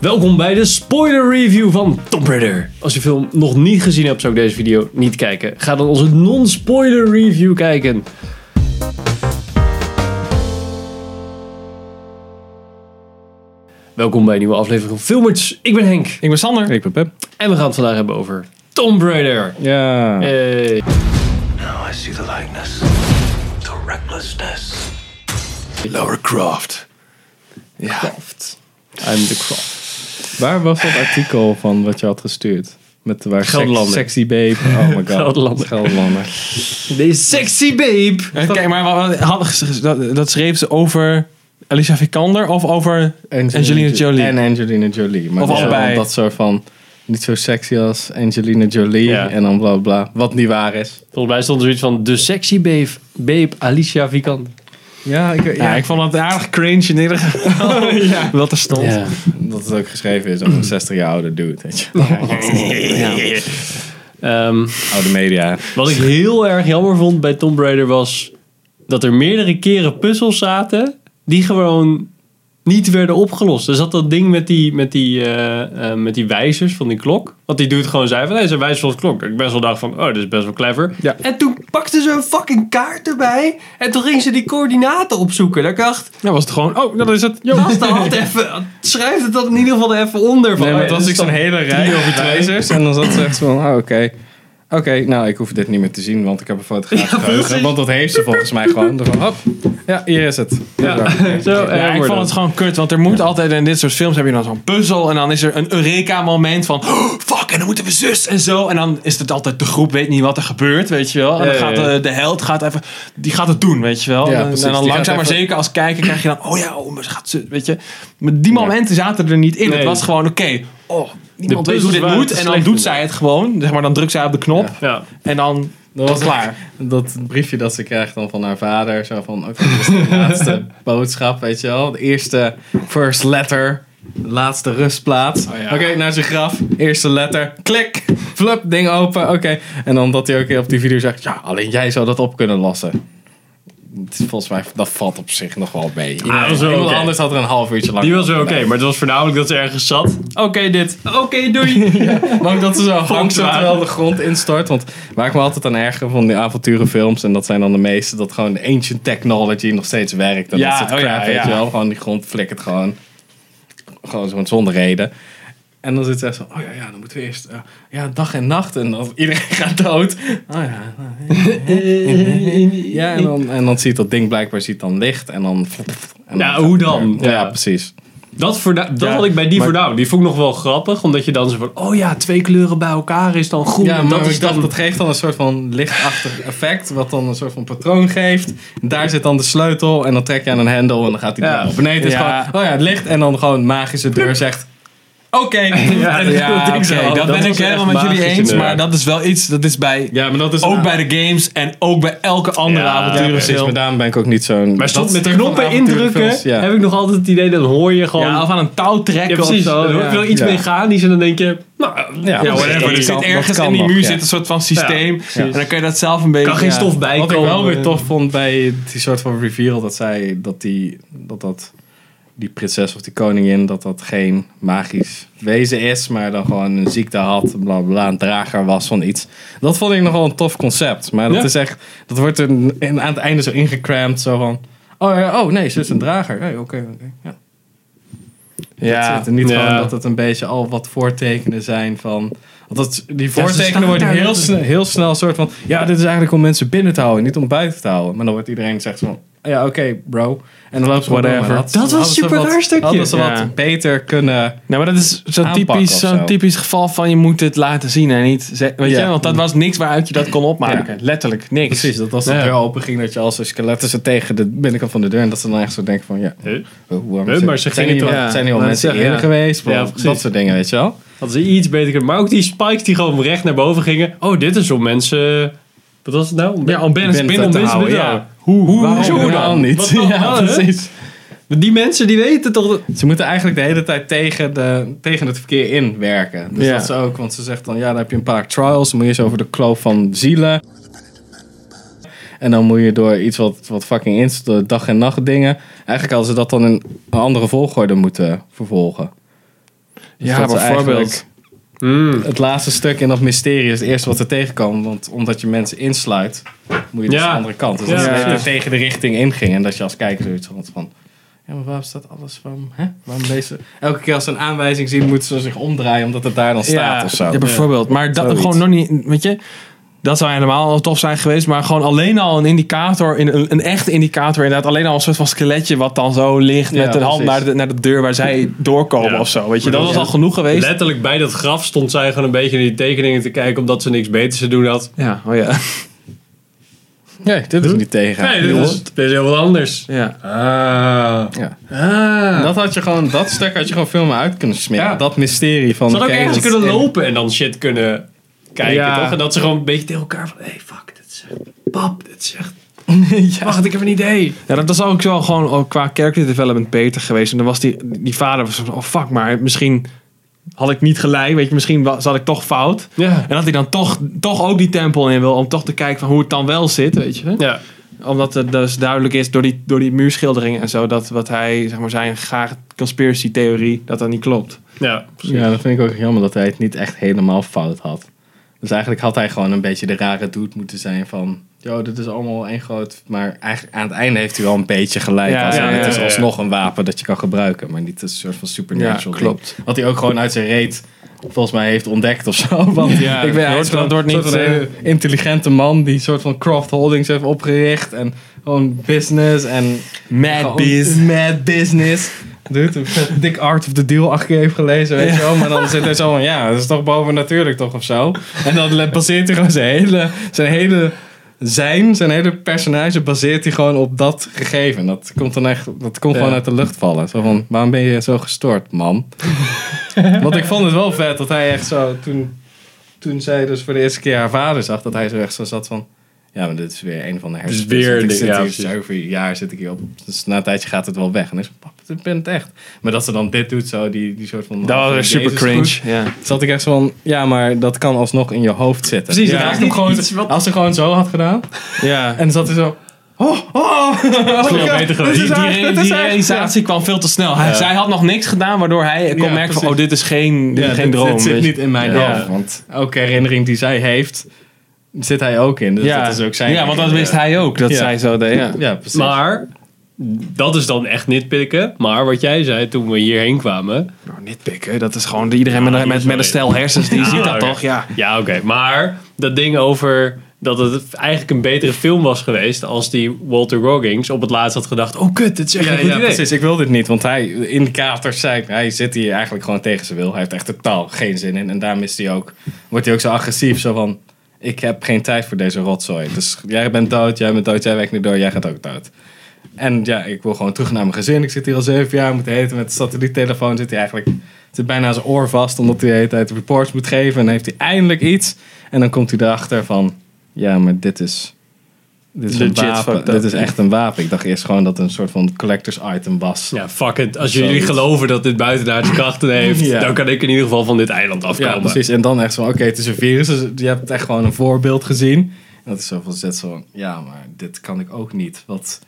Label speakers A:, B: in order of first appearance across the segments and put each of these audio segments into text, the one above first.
A: Welkom bij de spoiler review van Tomb Raider. Als je de film nog niet gezien hebt, zou ik deze video niet kijken. Ga dan onze non-spoiler review kijken. Welkom bij een nieuwe aflevering van Filmers. Ik ben Henk
B: Ik ben Sander. Ik ben Pep.
A: en we gaan het vandaag hebben over Tomb Raider.
B: Ja.
A: Hey.
C: Now I see the likeness, the recklessness.
A: Laura Croft.
B: Kraft. I'm the Kraft. Waar was dat artikel van wat je had gestuurd? Met waar seks-
A: Gelderlander.
B: sexy babe. Oh my god.
A: Gelderlander.
B: Gelderlander.
A: Deze sexy babe.
D: Eh, Kijk, maar wat- wat- hadden ze- dat, dat schreef ze over Alicia Vikander of over Angelina Jolie?
B: En Angelina Jolie. Maar
D: Of
B: dat is
D: allebei.
B: wel Dat soort van niet zo sexy als Angelina Jolie.
A: Ja.
B: En dan bla bla. Wat niet waar is.
A: Volgens mij stond er zoiets van de sexy babe, babe Alicia Vikander.
B: Ja, Nou, ik, ja,
D: ja, ik vond het aardig cringe in ieder geval. Wat er stond.
A: Ja.
B: dat het ook geschreven is over een 60 jaar oude dude. Weet je.
A: Ehm,
B: Oude media.
A: Wat ik heel erg jammer vond bij Tomb Raider was dat er meerdere keren puzzels zaten die gewoon niet werden opgelost. Er zat dat ding met die, met die, eh, eh, met die wijzers van die klok. Want die doet gewoon zei van, nee, ze wijzen zoals klok. Dat ik best wel dacht van, oh, dat is best wel clever.
B: Ja.
A: En toen pakte ze een fucking kaart erbij en toen ging ze die coördinaten opzoeken. Dat ik dacht,
D: Dan was het gewoon, oh, dat is het. Yo.
A: gast, dan had even, schrijf het dan in ieder geval er even onder. Van,
B: Nee, maar
A: oh,
B: het was
A: dit
B: ik
A: is
B: zo'n
A: dan-
B: hele rij over wijzers. En dan zat ze echt zo van, oh, oké. Oké, nou, ik hoef dit niet meer te zien, want ik heb een fotograaf
A: Ja,
B: geheugen.
A: precies.
B: Want dat heeft ze volgens mij gewoon. Dan van, hop, ja, hier is het. Ja.
A: Zo, eh,
D: Ja, Eh, ik vond
A: het
D: het gewoon kut, want er moet altijd in dit soort films heb je dan zo'n puzzel en dan is er een Eureka-moment van oh, fuck en dan moeten we zus en zo en dan is het altijd de groep weet niet wat er gebeurt, weet je wel. En dan
A: Ja,
D: gaat eh,
A: ja, ja.
D: de, de held gaat even, die gaat het doen, weet je wel.
B: Ja,
D: en,
B: precies,
D: en
B: die
D: dan
B: gaat
D: langzaam maar
B: even-
D: zeker als kijker krijg je dan oh ja, oh, maar ze gaat zus, weet je. Maar die momenten zaten er niet in.
A: Nee.
D: Het was gewoon oké. oh, niemand
A: De
D: weet hoe
A: puzzels
D: dit
A: waren
D: moet
A: te
D: en dan
A: slecht
D: doet zij het gewoon. Zeg maar dan drukt zij op de knop
A: Ja.
D: en dan
B: Dat was
D: klaar.
B: Dat briefje dat ze krijgt dan van haar vader. Zo van, oké, dit is de laatste boodschap, weet je wel. De eerste first letter. de Laatste rustplaats.
D: Oh ja.
B: Oké, naar zijn graf. Eerste letter. Klik. Flup, ding open. Oké. En dan dat hij ook op die video zegt, ja, alleen jij zou dat op kunnen lossen. Het is Volgens mij, dat valt op zich nog wel mee. Iemand,
A: Ah, dat is wel
B: iemand
A: oké.
B: anders had er een half uurtje lang
A: Die was wel oké,
B: over gedaan.
A: maar het was voornamelijk dat ze ergens zat. Oké, dit. Oké, doei.
B: Maar ook dat ze zo hangt
A: waren.
B: terwijl de grond instort. Want waar ik me altijd aan erger van die avonturenfilms, en dat zijn dan de meeste, dat gewoon de ancient technology nog steeds werkt. En
D: Ja,
B: dat soort
D: oh
B: crap,
D: ja,
B: weet
D: ja.
B: je wel. Gewoon die grond flikkert gewoon. Gewoon zo zonder reden. En dan zit ze echt zo, oh ja, ja dan moeten we eerst, eh, ja, dag en nacht. En dan iedereen gaat dood. Oh ja. ja en, dan, en dan ziet dat ding blijkbaar ziet dan licht. En dan... en
A: Ja, hoe dan?
B: Ja,
A: Ja.
B: precies.
A: Dat, voorna- dat
D: Ja,
A: had ik bij die
B: maar-
A: voornamelijk. Die vond ik nog wel grappig, omdat je dan zo van... Oh ja, twee kleuren bij elkaar is dan groen.
B: Ja,
A: en
B: maar
A: dat
B: dat,
A: is
B: dacht,
A: dan...
B: dat geeft dan een soort van lichtachtig effect, wat dan een soort van patroon geeft. En daar zit dan de sleutel en dan trek je aan een hendel en dan gaat die
A: Ja.
B: deur open. Nee, het is
D: Ja.
B: gewoon, oh ja, het licht en dan gewoon magische deur zegt, oké.
A: Ja,
B: En dan
D: Ja,
B: ding
D: oké,
B: zo.
D: dat,
A: dat
D: ben ik
A: was
D: helemaal
A: echt
D: met jullie
A: magisch
D: eens, maar
A: inderdaad.
D: dat is wel iets, dat is bij
B: Ja, maar dat is...
D: Ook bij de games en ook bij elke andere
A: Ja,
B: precies,
D: avonturenfilm.
B: maar Dus daarom ben ik ook niet zo'n...
A: Maar stond
B: dat
A: met
B: stuk van
A: knoppen
B: avonturenfilms,
A: indrukken,
B: Ja.
A: heb ik nog altijd het idee, dan hoor je gewoon...
D: Ja, of aan een touw
A: Ja,
D: trekken
A: precies.
D: of zo.
A: dan hoor je
D: ja.
A: wel iets
B: Ja.
A: mechanisch en dan denk je... Nou,
B: Ja,
D: Ja,
B: precies.
D: whatever.
B: Dat
D: Er
B: kan-
D: zit
B: dat
D: ergens
B: kan
D: in die
B: nog,
D: muur
B: ja.
D: zit een soort van systeem. En dan kan je dat zelf een beetje...
A: kan geen stof bij
B: Wat ik
A: komen.
B: wel weer tof vond bij die soort van reveal dat zij dat die dat dat die prinses of die koningin dat dat geen magisch wezen is, maar dan gewoon een ziekte had, bla bla, een drager was van iets. Dat vond ik nogal een tof concept, maar dat
D: Ja.
B: is echt dat wordt er in- aan het einde zo ingecramd zo van oh, ja, oh nee, ze is een drager. Hey, oké, oké. ja.
D: Ja.
B: Dat zit er niet
A: Ja.
B: gewoon dat het een beetje al wat voortekenen zijn van. Want dat, die
D: staan
B: voortekenen worden
D: daar
B: heel,
D: met-
B: sne- heel snel een soort van. Ja, dit is eigenlijk om mensen binnen te houden, niet om buiten te houden. Maar dan wordt iedereen zegt van. Ja, oké, bro. En dan loopt ze gewoon
D: Whatever.
B: door.
D: Dat
B: hadden
A: was
B: ze
A: super
B: wat-
A: raar stukje.
B: Hadden ze
D: Ja.
B: wat beter kunnen.
D: Nou, maar dat is zo'n
B: Aanpakken
D: typisch,
B: of
D: zo'n
B: zo.
D: typisch geval van je moet het laten zien en niet... ze- Weet
B: Ja.
D: je, want dat was niks waaruit je dat kon opmaken.
B: Ja.
D: Letterlijk, niks.
B: Precies, dat als de
A: Ja.
B: deur open ging, dat je als een skeletten ze tegen de binnenkant van de deur. En dat ze dan echt zo denken van ja.
A: Huh?
B: oh, waarom
A: Huh,
B: zijn-
A: maar ze
B: zijn
A: gingen
B: hier
A: toch-
B: al-
A: ja,
B: Zijn hier al
A: laat
B: mensen
A: zeggen, ja.
B: eerder geweest?
A: Ja,
B: Of
A: precies.
B: dat soort dingen, weet je wel.
A: Dat ze iets beter kunnen. Maar ook die spikes die gewoon recht naar boven gingen. Oh, dit is om mensen... Wat was het nou? Om-
D: Ja, om binnen,
B: Binnen
D: binnen
B: te
D: om mensen
B: houden, ja.
D: binnen te houden. Hoe, hoe,
A: Waarom?
D: hoezo
A: Waarom?
D: dan?
B: Helemaal niet.
A: Wat dan
B: Ja,
A: wel, hè?
B: precies.
A: Die mensen die weten toch... dat-
B: Ze moeten eigenlijk de hele tijd tegen, de, tegen het verkeer in werken. Dus
D: Ja.
B: dat ze ook, want ze zegt dan, ja, dan heb je een paar trials. Dan moet je eens over de kloof van zielen. En dan moet je door iets wat, wat fucking inst, de dag en nacht dingen. Eigenlijk hadden ze dat dan in een andere volgorde moeten vervolgen. Dus
D: Ja,
B: dat is
D: bijvoorbeeld.
B: eigenlijk Het laatste stuk in dat mysterie is het eerste wat er tegenkomt. Want omdat je mensen insluit, moet je dus
A: Ja.
B: de andere kant. Dus
A: Ja,
B: dat
D: precies.
B: je er tegen de richting inging. En dat je als kijker zoiets had van... Ja, maar waarom staat alles van... Hè? Waarom deze... Elke keer als ze een aanwijzing zien, moeten ze zich omdraaien. Omdat het daar dan staat of zo.
D: Ja, bijvoorbeeld. Maar dat
B: Zoiets.
D: gewoon nog niet, weet je. Dat zou helemaal al tof zijn geweest, maar gewoon alleen al een indicator, in, een, een echte indicator inderdaad. Alleen al een soort van skeletje wat dan zo ligt
B: Ja,
D: met een hand
B: precies.
D: naar de, naar de deur waar zij doorkomen
A: Ja.
D: of zo. Weet je,
A: Maar
D: dat was
A: dat-
D: al genoeg geweest.
A: Letterlijk bij dat graf stond zij gewoon een beetje in die tekeningen te kijken. Omdat ze niks beters te doen had.
D: Ja, oh ja.
B: Nee, dit is niet tegen.
A: Nee, dit is, dit is heel wat anders.
D: ja.
A: Ah.
B: Ja.
A: Ah.
B: Dat, had je gewoon, dat stuk had je gewoon veel meer uit kunnen smeren.
A: Ja.
B: Dat mysterie van...
A: Ze hadden
B: oké,
A: ook ergens
B: dat-
A: kunnen
B: en-
A: lopen en dan shit kunnen kijken,
B: Ja.
A: toch? En dat ze gewoon een beetje tegen elkaar van... hey, fuck, dit is echt... Pap, dit is echt... Wacht, ik heb een idee.
D: Ja, dat was ook wel gewoon ook qua character development beter geweest. En dan was die, die vader was van, oh fuck, maar misschien had ik niet gelijk, weet je, misschien wa- zat ik toch fout.
A: Ja.
D: En dat hij dan toch, toch ook die tempel in wil, om toch te kijken van hoe het dan wel zit, weet je.
A: Ja.
D: Omdat het dus duidelijk is door die, door die muurschilderingen en zo, dat wat hij, zeg maar, zijn graag conspiracy theorie, dat dat niet klopt.
A: Ja.
B: Ja, dat vind ik ook jammer dat hij het niet echt helemaal fout had. Dus eigenlijk had hij gewoon een beetje de rare dude moeten zijn van... Yo, dit is allemaal één groot... Maar eigenlijk aan het einde heeft hij wel een beetje gelijk.
D: Ja,
B: als in,
D: ja,
B: het
A: ja,
B: is
A: ja.
B: alsnog een wapen dat je kan gebruiken. Maar niet een soort van supernatural
D: Ja,
B: ding.
D: klopt.
B: Wat hij ook gewoon uit zijn reet volgens mij heeft ontdekt of zo. Want
D: Ja,
B: ik ben
D: dat
B: eigenlijk
D: wordt- dat wordt
B: een
D: niet,
B: soort van
D: eh,
B: hele intelligente man... die een soort van Croft Holdings heeft opgericht. En gewoon business en...
D: Mad
B: Gewoon
D: Beast.
B: Mad business. Dude, een dik Art of the Deal acht keer heeft gelezen, weet je wel. Maar dan zit hij zo van, ja, dat is toch bovennatuurlijk toch of zo. En dan le- baseert hij gewoon zijn hele, zijn hele zijn, zijn hele personage baseert hij gewoon op dat gegeven. Dat komt dan echt, dat komt gewoon uit de lucht vallen. Zo van, waarom ben je zo gestoord, man? Want ik vond het wel vet dat hij echt zo, toen, toen zij dus voor de eerste keer haar vader zag, dat hij zo echt zo zat van... Ja, maar dit is weer een van de hersenen.
A: weer
B: ik
A: dit,
B: zit
A: ja,
B: hier
A: precies.
B: zoveel jaar zit ik hier op. Dus na een tijdje gaat het wel weg. En ik zei, pap, ik ben het echt. Maar dat ze dan dit doet, zo, die, die soort van...
D: Dat was weer super
B: Jezus
D: cringe.
B: groet,
D: Ja.
B: Zat ik echt zo van, ja, maar dat kan alsnog in je hoofd zitten.
A: Precies,
B: Ja,
A: dat is
B: als,
A: niet
B: hem gewoon,
A: iets wat-
B: als ze gewoon zo had gedaan.
D: ja.
B: En dan zat hij zo... Oh, oh!
A: Veel beter geweest.
D: Die,
A: Die-
D: die,
A: die-
D: re- die realisatie kwam veel te snel. Hij, Zij had nog niks gedaan waardoor hij kon
B: Ja,
D: merken van,
B: precies.
D: oh, dit is geen, dit
B: Ja,
D: is geen
B: dit-
D: droom.
B: Dit zit
D: weet je.
B: niet in mijn
D: Ja.
B: hoofd. Want elke herinnering die zij heeft, zit hij ook in. Dus
D: ja.
B: dat is ook zijn
D: ja, want dat wist hij ook, dat
B: Ja.
D: zij zo deed. Ja.
B: Ja, precies.
A: Maar, dat is dan echt nitpikken. Maar wat jij zei toen we hierheen kwamen...
D: Nou, nitpikken, dat is gewoon iedereen met,
A: hier
D: met,
A: is
D: met
A: wel
D: een stel hersens, die
A: Ja,
D: ziet dat
A: oké.
D: toch? Ja.
A: Ah, Ja, oké. Maar, dat ding over... Dat het eigenlijk een betere film was geweest als die Walter Goggins op het laatst had gedacht... Oh kut, dit is echt
B: Ja,
A: een goed
B: ja
A: idee.
B: precies. Ik wil dit niet, want hij in de kater zei ik, hij zit hier eigenlijk gewoon tegen zijn wil. Hij heeft echt totaal geen zin in en daarom is hij ook, wordt hij ook zo agressief, zo van, ik heb geen tijd voor deze rotzooi. Dus jij bent dood, jij bent dood, jij werkt niet door, jij gaat ook dood. En ja, ik wil gewoon terug naar mijn gezin. Ik zit hier al zeven jaar, moet eten met de satelliettelefoon. Zit hij eigenlijk zit bijna aan zijn oor vast, omdat hij de hele tijd reports moet geven. En dan heeft hij eindelijk iets. En dan komt hij erachter van, ja, maar dit is... Dit is, een
D: Legit
B: wapen.
D: fucked up.
B: dit is echt een wapen. Ik dacht eerst gewoon dat het een soort van collectors item was.
A: Ja, fuck it. Als jullie
B: Zoiets.
A: geloven dat dit buitenaardse krachten heeft,
B: Ja.
A: dan kan ik in ieder geval van dit eiland
B: Ja,
A: afkomen.
B: precies. En dan echt zo, oké, het is een virus. Dus je hebt echt gewoon een voorbeeld gezien. En dat is zo van, zet zo, van, ja, maar dit kan ik ook niet. Wat,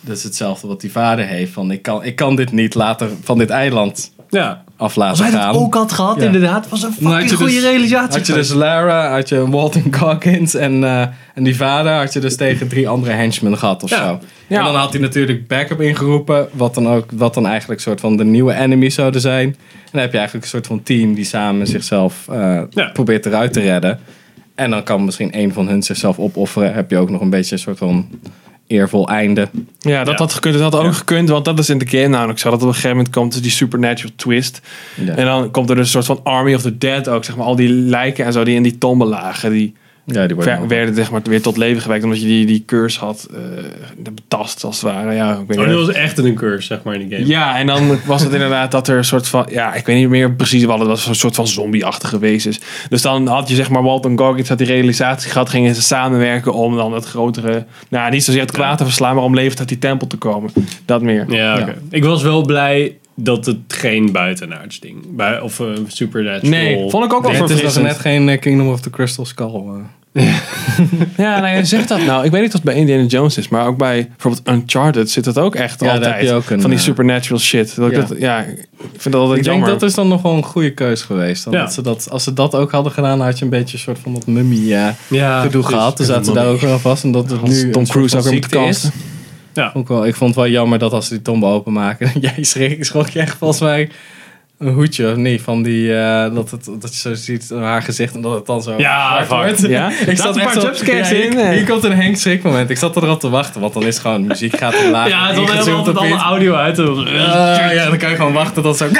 B: dat is hetzelfde wat die vader heeft. Van, ik kan, ik kan dit niet later van dit eiland
A: Ja.
B: af laten
A: Als hij
B: gaan.
A: dat ook had gehad,
B: Ja.
A: inderdaad, was een
B: Dan
A: fucking goede
B: dus,
A: realisatie.
B: Had je dus Lara, had je Walton Goggins en, eh, en die vader had je dus tegen drie andere henchmen gehad of
A: Ja.
B: zo.
D: Ja.
B: En dan had hij natuurlijk backup ingeroepen, wat dan ook, wat dan eigenlijk soort van de nieuwe enemies zouden zijn. En dan heb je eigenlijk een soort van team die samen zichzelf eh,
A: Ja.
B: probeert eruit te redden. En dan kan misschien één van hun zichzelf opofferen. Heb je ook nog een beetje een soort van eervol einde.
D: Ja, dat
A: Ja.
D: had gekund. Dat had ook gekund, want dat is in de game namelijk zo. Dat op een gegeven moment komt dus die supernatural twist.
B: Ja.
D: En dan komt er dus een soort van Army of the Dead ook, zeg maar. Al die lijken en zo die in die tombe lagen. Die
B: Ja, die
D: ver- werden zeg maar, weer tot leven gewekt omdat je die, die curse had eh, betast, als het ware. Ja, ik weet
A: Oh,
D: niet.
A: dit was echt een curse, zeg maar, in die game.
D: Ja, en dan was het inderdaad dat er een soort van... Ja, ik weet niet meer precies wat het was. Een soort van zombie-achtige wezens. Dus dan had je zeg maar Walton Goggins had die realisatie gehad. Gingen ze samenwerken om dan het grotere... Nou, niet zozeer het kwaad te verslaan, maar om levend uit die tempel te komen. Dat meer.
A: Ja, oké. Ik was wel blij dat het geen buitenaards ding, bui- of eh supernatural...
D: Nee, vond ik ook wel
A: ding
B: Het is nog
A: verfrissend.
B: net geen eh, Kingdom of the Crystal Skull. eh.
D: Ja, nou, je zegt dat nou. Ik weet niet of het bij Indiana Jones is, maar ook bij bijvoorbeeld Uncharted zit dat ook echt
B: Ja, daar
D: altijd.
B: heb je ook een,
D: van die
B: eh,
D: supernatural shit. Dat ik
B: ja.
D: Dat, ja, ik vind dat altijd
B: Ik denk
D: jammer.
B: dat is dan nog wel een goede keus geweest. Dan
A: Ja.
B: dat ze dat, als ze dat ook hadden gedaan, had je een beetje een soort van dat mummie eh,
A: Ja,
B: gedoe
A: precies.
B: gehad. Dus
A: En
B: zaten ze
A: dan-
B: daar ook wel vast. En dat het
D: Had
B: nu
D: Tom
B: een soort
D: Cruise
B: van
D: ook weer moeten
B: ziekte is.
D: casten.
A: Ja.
B: Ook wel, ik vond het wel jammer dat als ze die tombe openmaken, jij schrik, schrok je echt volgens mij een hoedje of niet? Van die, eh, dat, het, dat je zo ziet eh, haar gezicht en dat het dan zo
A: Ja, hard.
D: Ja?
B: Ik zat
D: een
B: echt
D: paar
B: zo,
D: jumpscares
B: Ja, hier-
D: in, eh.
B: Hier komt een Henk schrik moment. Ik zat er al te wachten, want dan is gewoon muziek gaat omlaag.
A: Ja, dan hebben we
B: ingezoomd
A: altijd
B: op
A: alle
B: iets.
A: audio uit. en dan-
B: Ah, ja, dan kan je gewoon wachten tot zo.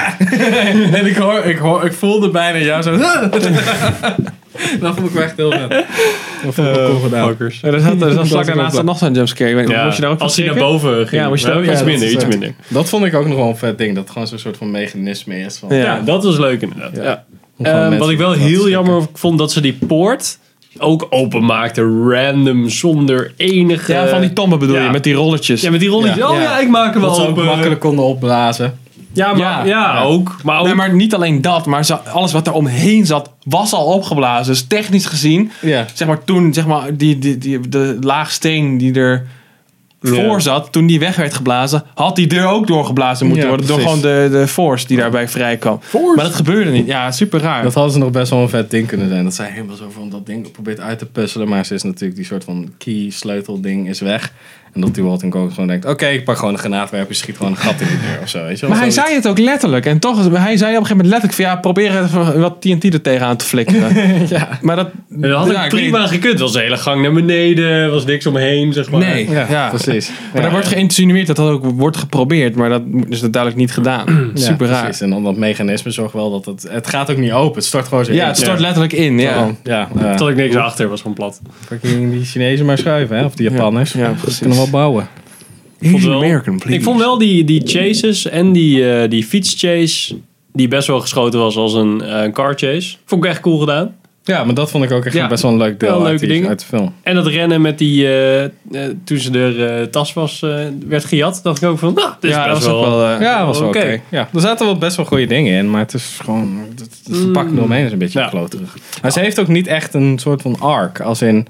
B: en ik, hoor, ik, hoor, ik voelde bijna jou zo. dat vond ik me echt heel vet. Dat vond ik wel cool gedaan.
A: Fuckers.
D: Ja, Er zat, er zat vlak
B: is
D: daarnaast
B: wel-
D: nog zo'n jumpscare. Ik weet niet,
A: Ja,
D: moest je daar ook van
A: als hij naar
D: schrikken?
A: boven ging.
D: Ja, moest je daar ook-
A: Maar iets
D: ja,
A: minder,
B: dat
A: iets
B: is, eh,
A: minder.
B: Dat vond ik ook nog wel een vet ding. Dat het gewoon zo'n soort van mechanisme is. Van,
D: Ja.
A: Ja, dat was leuk inderdaad. Ja.
B: Om gewoon
A: Ehm,
B: mensen
A: wat ik wel
B: te
A: heel
B: laten
A: jammer vond, dat ze die poort ook openmaakte. Random, zonder enige...
D: Ja, van die tombe bedoel
A: Ja.
D: je, met die rolletjes.
A: Ja, met die rolletjes.
B: Ja.
A: Oh ja, ik maak hem
B: Dat
A: wel
B: ze ook
A: open.
B: makkelijk konden opblazen.
A: Ja, maar, ja.
D: Ja.
A: ook. Maar ook
D: Nee, maar niet alleen dat, maar ze- alles wat er omheen zat, was al opgeblazen. Dus technisch gezien,
B: Ja.
D: zeg maar toen zeg maar, die, die, die, de laag steen die er voor zat, toen die weg werd geblazen, had die deur ook doorgeblazen moeten
B: Ja,
D: worden. Door gewoon
B: precies.
D: de, de force die daarbij vrij kwam. Maar dat gebeurde niet. Ja, super raar.
B: Dat hadden ze nog best wel een vet ding kunnen zijn. Dat zij helemaal zo van dat ding probeert uit te puzzelen. Maar ze is natuurlijk die soort van key sleutel ding is weg. En dat die Walton Cook gewoon denkt, oké, ik pak gewoon een granaatwerper, schiet gewoon een gat in de deur of zo. Weet je wel?
D: maar hij
B: Zoiets.
D: zei het ook letterlijk. En toch, hij zei op een gegeven moment letterlijk van ja, probeer even wat TNT er tegenaan te flikkeren.
B: Ja.
D: Maar dat,
A: dat had
D: ja,
A: ik
D: ik
A: prima
D: weet-
A: gekund. Er was de hele gang naar beneden. Er was niks omheen, zeg maar.
B: Nee, ja,
D: Ja.
B: precies.
D: Maar daar wordt geïnsinueerd dat dat ook wordt geprobeerd, maar dat is dat duidelijk niet gedaan. Super raar.
B: En dan dat mechanisme zorgt wel dat het... Het gaat ook niet open, het stort gewoon zo
D: Ja,
B: in.
D: het stort letterlijk in.
B: Ja,
D: Ja.
B: ja eh,
A: Tot ik niks achter was gewoon plat.
B: fucking die Chinezen maar schuiven, hè? Of die
D: Ja,
B: Japanners.
D: ja,
B: Die
D: precies.
B: Kunnen wel bouwen.
A: vond wel-
D: please.
A: Ik vond wel die, die chases en die, eh, die fietschase, die best wel geschoten was als een eh, car chase. Vond ik echt cool gedaan.
B: Ja, maar dat vond ik ook echt
D: Ja.
B: best wel een leuk
A: Wel
B: deel uit,
A: leuke
B: die,
A: dingen.
B: uit de film.
A: En dat rennen met die, eh, eh, toen ze er eh, tas was, eh, werd gejat, dacht ik ook van, nou, dit is
D: ja, dat
A: best
D: was ook
A: wel...
D: wel. eh,
B: Ja, was wel oké.
A: Oké.
B: Ja, er zaten wel best wel goede dingen in, maar het is gewoon. Het,
D: Mm.
B: het verpakking eromheen is een beetje
A: Ja.
B: kloterig. Maar ze heeft ook niet echt een soort van arc, als in.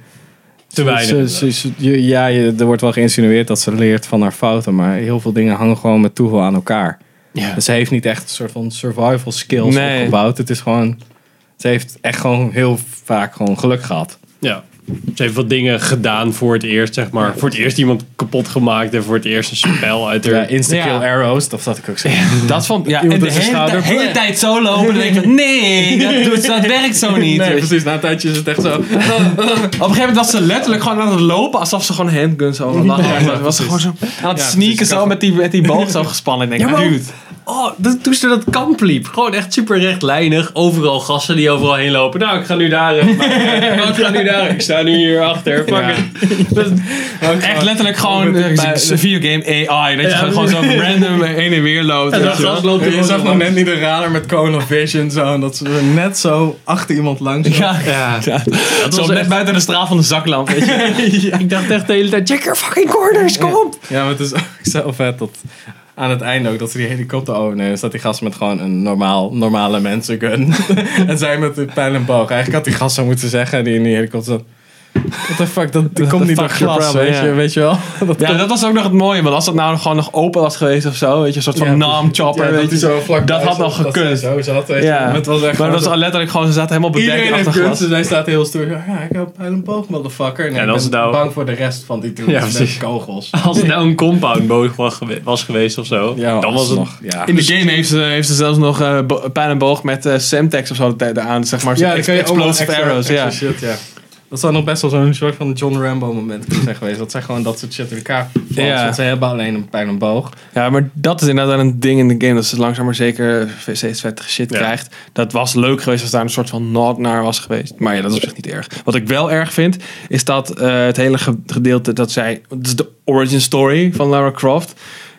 A: Te weinig.
B: ze- ze- ze- je- ja, je- er wordt wel geïnsinueerd dat ze leert van haar fouten, maar heel veel dingen hangen gewoon met toeval aan elkaar.
A: Ja.
B: Dus ze heeft niet echt een soort van survival skills
D: Nee.
B: opgebouwd. Het is gewoon. Ze heeft echt gewoon heel vaak gewoon geluk gehad.
A: ja. Ze heeft wat dingen gedaan voor het eerst, zeg maar. Voor het eerst iemand kapot gemaakt en voor het eerst een spel uit haar...
B: Ja, Insta-kill
D: Ja.
B: arrows, dat zat ik ook zo.
D: Dat vond ja, en
B: Iemand
D: de
B: op zijn
D: hele,
B: schouder.
D: de hele tijd zo lopen. Dan denk ik, van, nee, dat, doet, dat werkt zo niet.
B: Nee,
D: Weet je.
B: precies. Na een tijdje is het echt zo.
D: Op een gegeven moment was ze letterlijk gewoon aan het lopen alsof ze gewoon handguns hadden. Ja, was ze gewoon zo aan het sneaken
B: precies.
D: zo met die, met die boog zo gespannen. Ik denk,
A: Ja, maar-
D: dude.
A: Oh, dat, toen ze dat kamp liep. Gewoon echt super rechtlijnig. Overal gassen die overal heen lopen. Nou, ik ga nu daar. eh, maar, eh, ik ga nu daar. Ik sta nu hier achter. Fuck
D: Ja.
A: it. Dat-
D: Echt letterlijk gewoon eh,
B: bij-
D: videogame AI. Dat je
A: Ja,
D: gewoon zo random heen en weer loopt.
A: En
D: weet
A: dat
D: je wel.
A: gras loopt hier
B: Je
A: ook
B: zag
A: nog
B: nog
A: langs.
B: net niet de radar met Cone of Vision zo. En dat ze er net zo achter iemand langs.
D: Ja,
A: Ja.
D: ja.
A: Dat
D: Zo
A: was
D: net
A: echt-
D: buiten de straal van de zaklamp. Weet je.
A: Ik dacht echt de hele tijd, check your fucking corners, kom op.
B: Ja, maar het is ook zo vet dat aan het einde ook dat ze die helikopter overnemen. Staat die gast met gewoon een normaal, normale mensengun. en zij met de pijl en boog. Eigenlijk had die gast zo moeten zeggen die in die helikopter zat. What the fuck, dat die
D: the
B: komt niet door
D: fuck your
B: glas,
D: problem,
B: weet, je,
D: ja.
B: weet je wel. Dat
D: Ja, dat was ook nog het mooie. Want als dat nou gewoon nog open was geweest of zo. Weet je, een soort van
B: Ja,
D: naam chopper. weet je.
B: vlak
D: dat had nog gekund.
B: Zo zat, weet je.
D: Ja,
B: Maar het was echt
D: maar
B: gewoon
D: dat was
B: zo-
D: al letterlijk gewoon, ze zaten helemaal bedekt
B: Iedereen heeft
D: achter
B: kunst,
D: glas.
B: dus hij staat heel stoer. zo, Ja, ik heb pijl en boog, motherfucker. En
A: Ja,
B: ik
A: dat
B: ben
A: is nou-
B: bang voor de rest van die dudes
A: Ja,
B: met
A: precies.
B: kogels.
A: Als het nou een compound boog was gewe- was geweest of zo,
B: Ja,
A: dan was het
B: alsnog, ja.
D: In de game heeft ze, heeft ze zelfs nog eh, bo- pijl en boog met eh Semtex of zo er- eraan. Zeg maar, zo'n
B: dan
D: ex-
B: kun je ook nog
D: explosive
B: extra-
D: arrows.
B: extra
D: Ja.
B: shit, ja. Dat zou nog best wel zo'n soort van John Rambo moment kunnen zijn geweest. Dat zijn gewoon dat soort shit door elkaar vallen.
D: Ja.
B: Want ze hebben alleen een pijl en boog.
D: ja, maar dat is inderdaad een ding in de game. Dat ze langzaam maar zeker eh, steeds vettige shit
A: Ja.
D: krijgt. Dat was leuk geweest als daar een soort van nod naar was geweest. Maar ja, dat is op zich niet erg. Wat ik wel erg vind, is dat eh, het hele ge- gedeelte dat zij... Dat is de origin story van Lara Croft.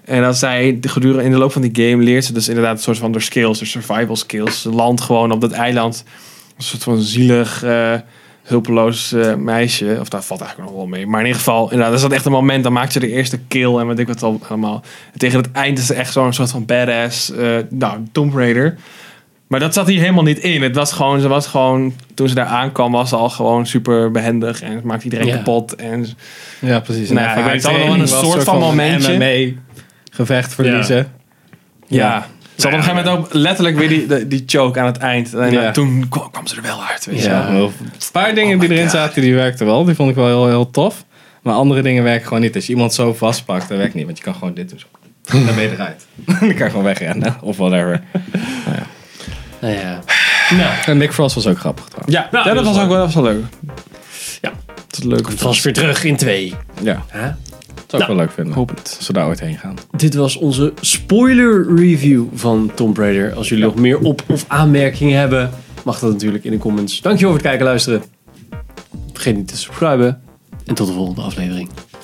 D: En dat zij de gedurende in de loop van die game leert ze dus inderdaad een soort van haar skills, haar survival skills. Ze landt gewoon op dat eiland. Een soort van zielig, eh, hulpeloos eh, meisje. Of daar valt eigenlijk nog wel mee. Maar in ieder geval, inderdaad, dat is dat echt een moment. Dan maakt ze de eerste kill en weet ik wat al- allemaal. En tegen het eind is ze echt zo'n soort van badass eh nou, Tomb Raider. Maar dat zat hier helemaal niet in. Het was gewoon, ze was gewoon, toen ze daar aankwam, was ze al gewoon super behendig. En maakte iedereen
A: Ja.
D: kapot. En
B: Ja, precies.
D: Nou ja,
B: En
D: ik
B: haar
D: weet het
B: training
D: allemaal wel een
B: was
D: soort van momentje.
B: MMA-gevecht verliezen.
D: Ja.
B: Ja.
D: Ze hadden op een gegeven moment ook letterlijk weer die, die, die choke aan het eind. En eh,
B: Ja.
D: toen kwam, kwam ze er wel uit. Weet je wel.
B: Ja. Oh wel Een paar dingen die erin zaten, die werkten wel. Die vond ik wel heel, heel tof. Maar andere dingen werken gewoon niet. Als je iemand zo vastpakt, dat werkt niet. Want je kan gewoon dit doen. zo. Dan ben je eruit. Dan kan je gewoon wegrennen. Of whatever.
A: Nou ja. Nou.
B: En Nick Frost was ook grappig trouwens.
D: Ja, ja, dat was ook wel, dat was wel leuk.
A: Ja.
D: Dat is leuk.
A: Vast weer terug in twee.
B: Ja.
A: Hè?
B: Zou ik wel leuk vinden.
D: Hoop het.
B: Als we daar ooit heen gaan.
A: Dit was onze spoiler review van Tomb Raider. Als jullie nog meer op- of aanmerkingen hebben, mag dat natuurlijk in de comments. Dankjewel voor het kijken en luisteren. Vergeet niet te subscriben. En tot de volgende aflevering.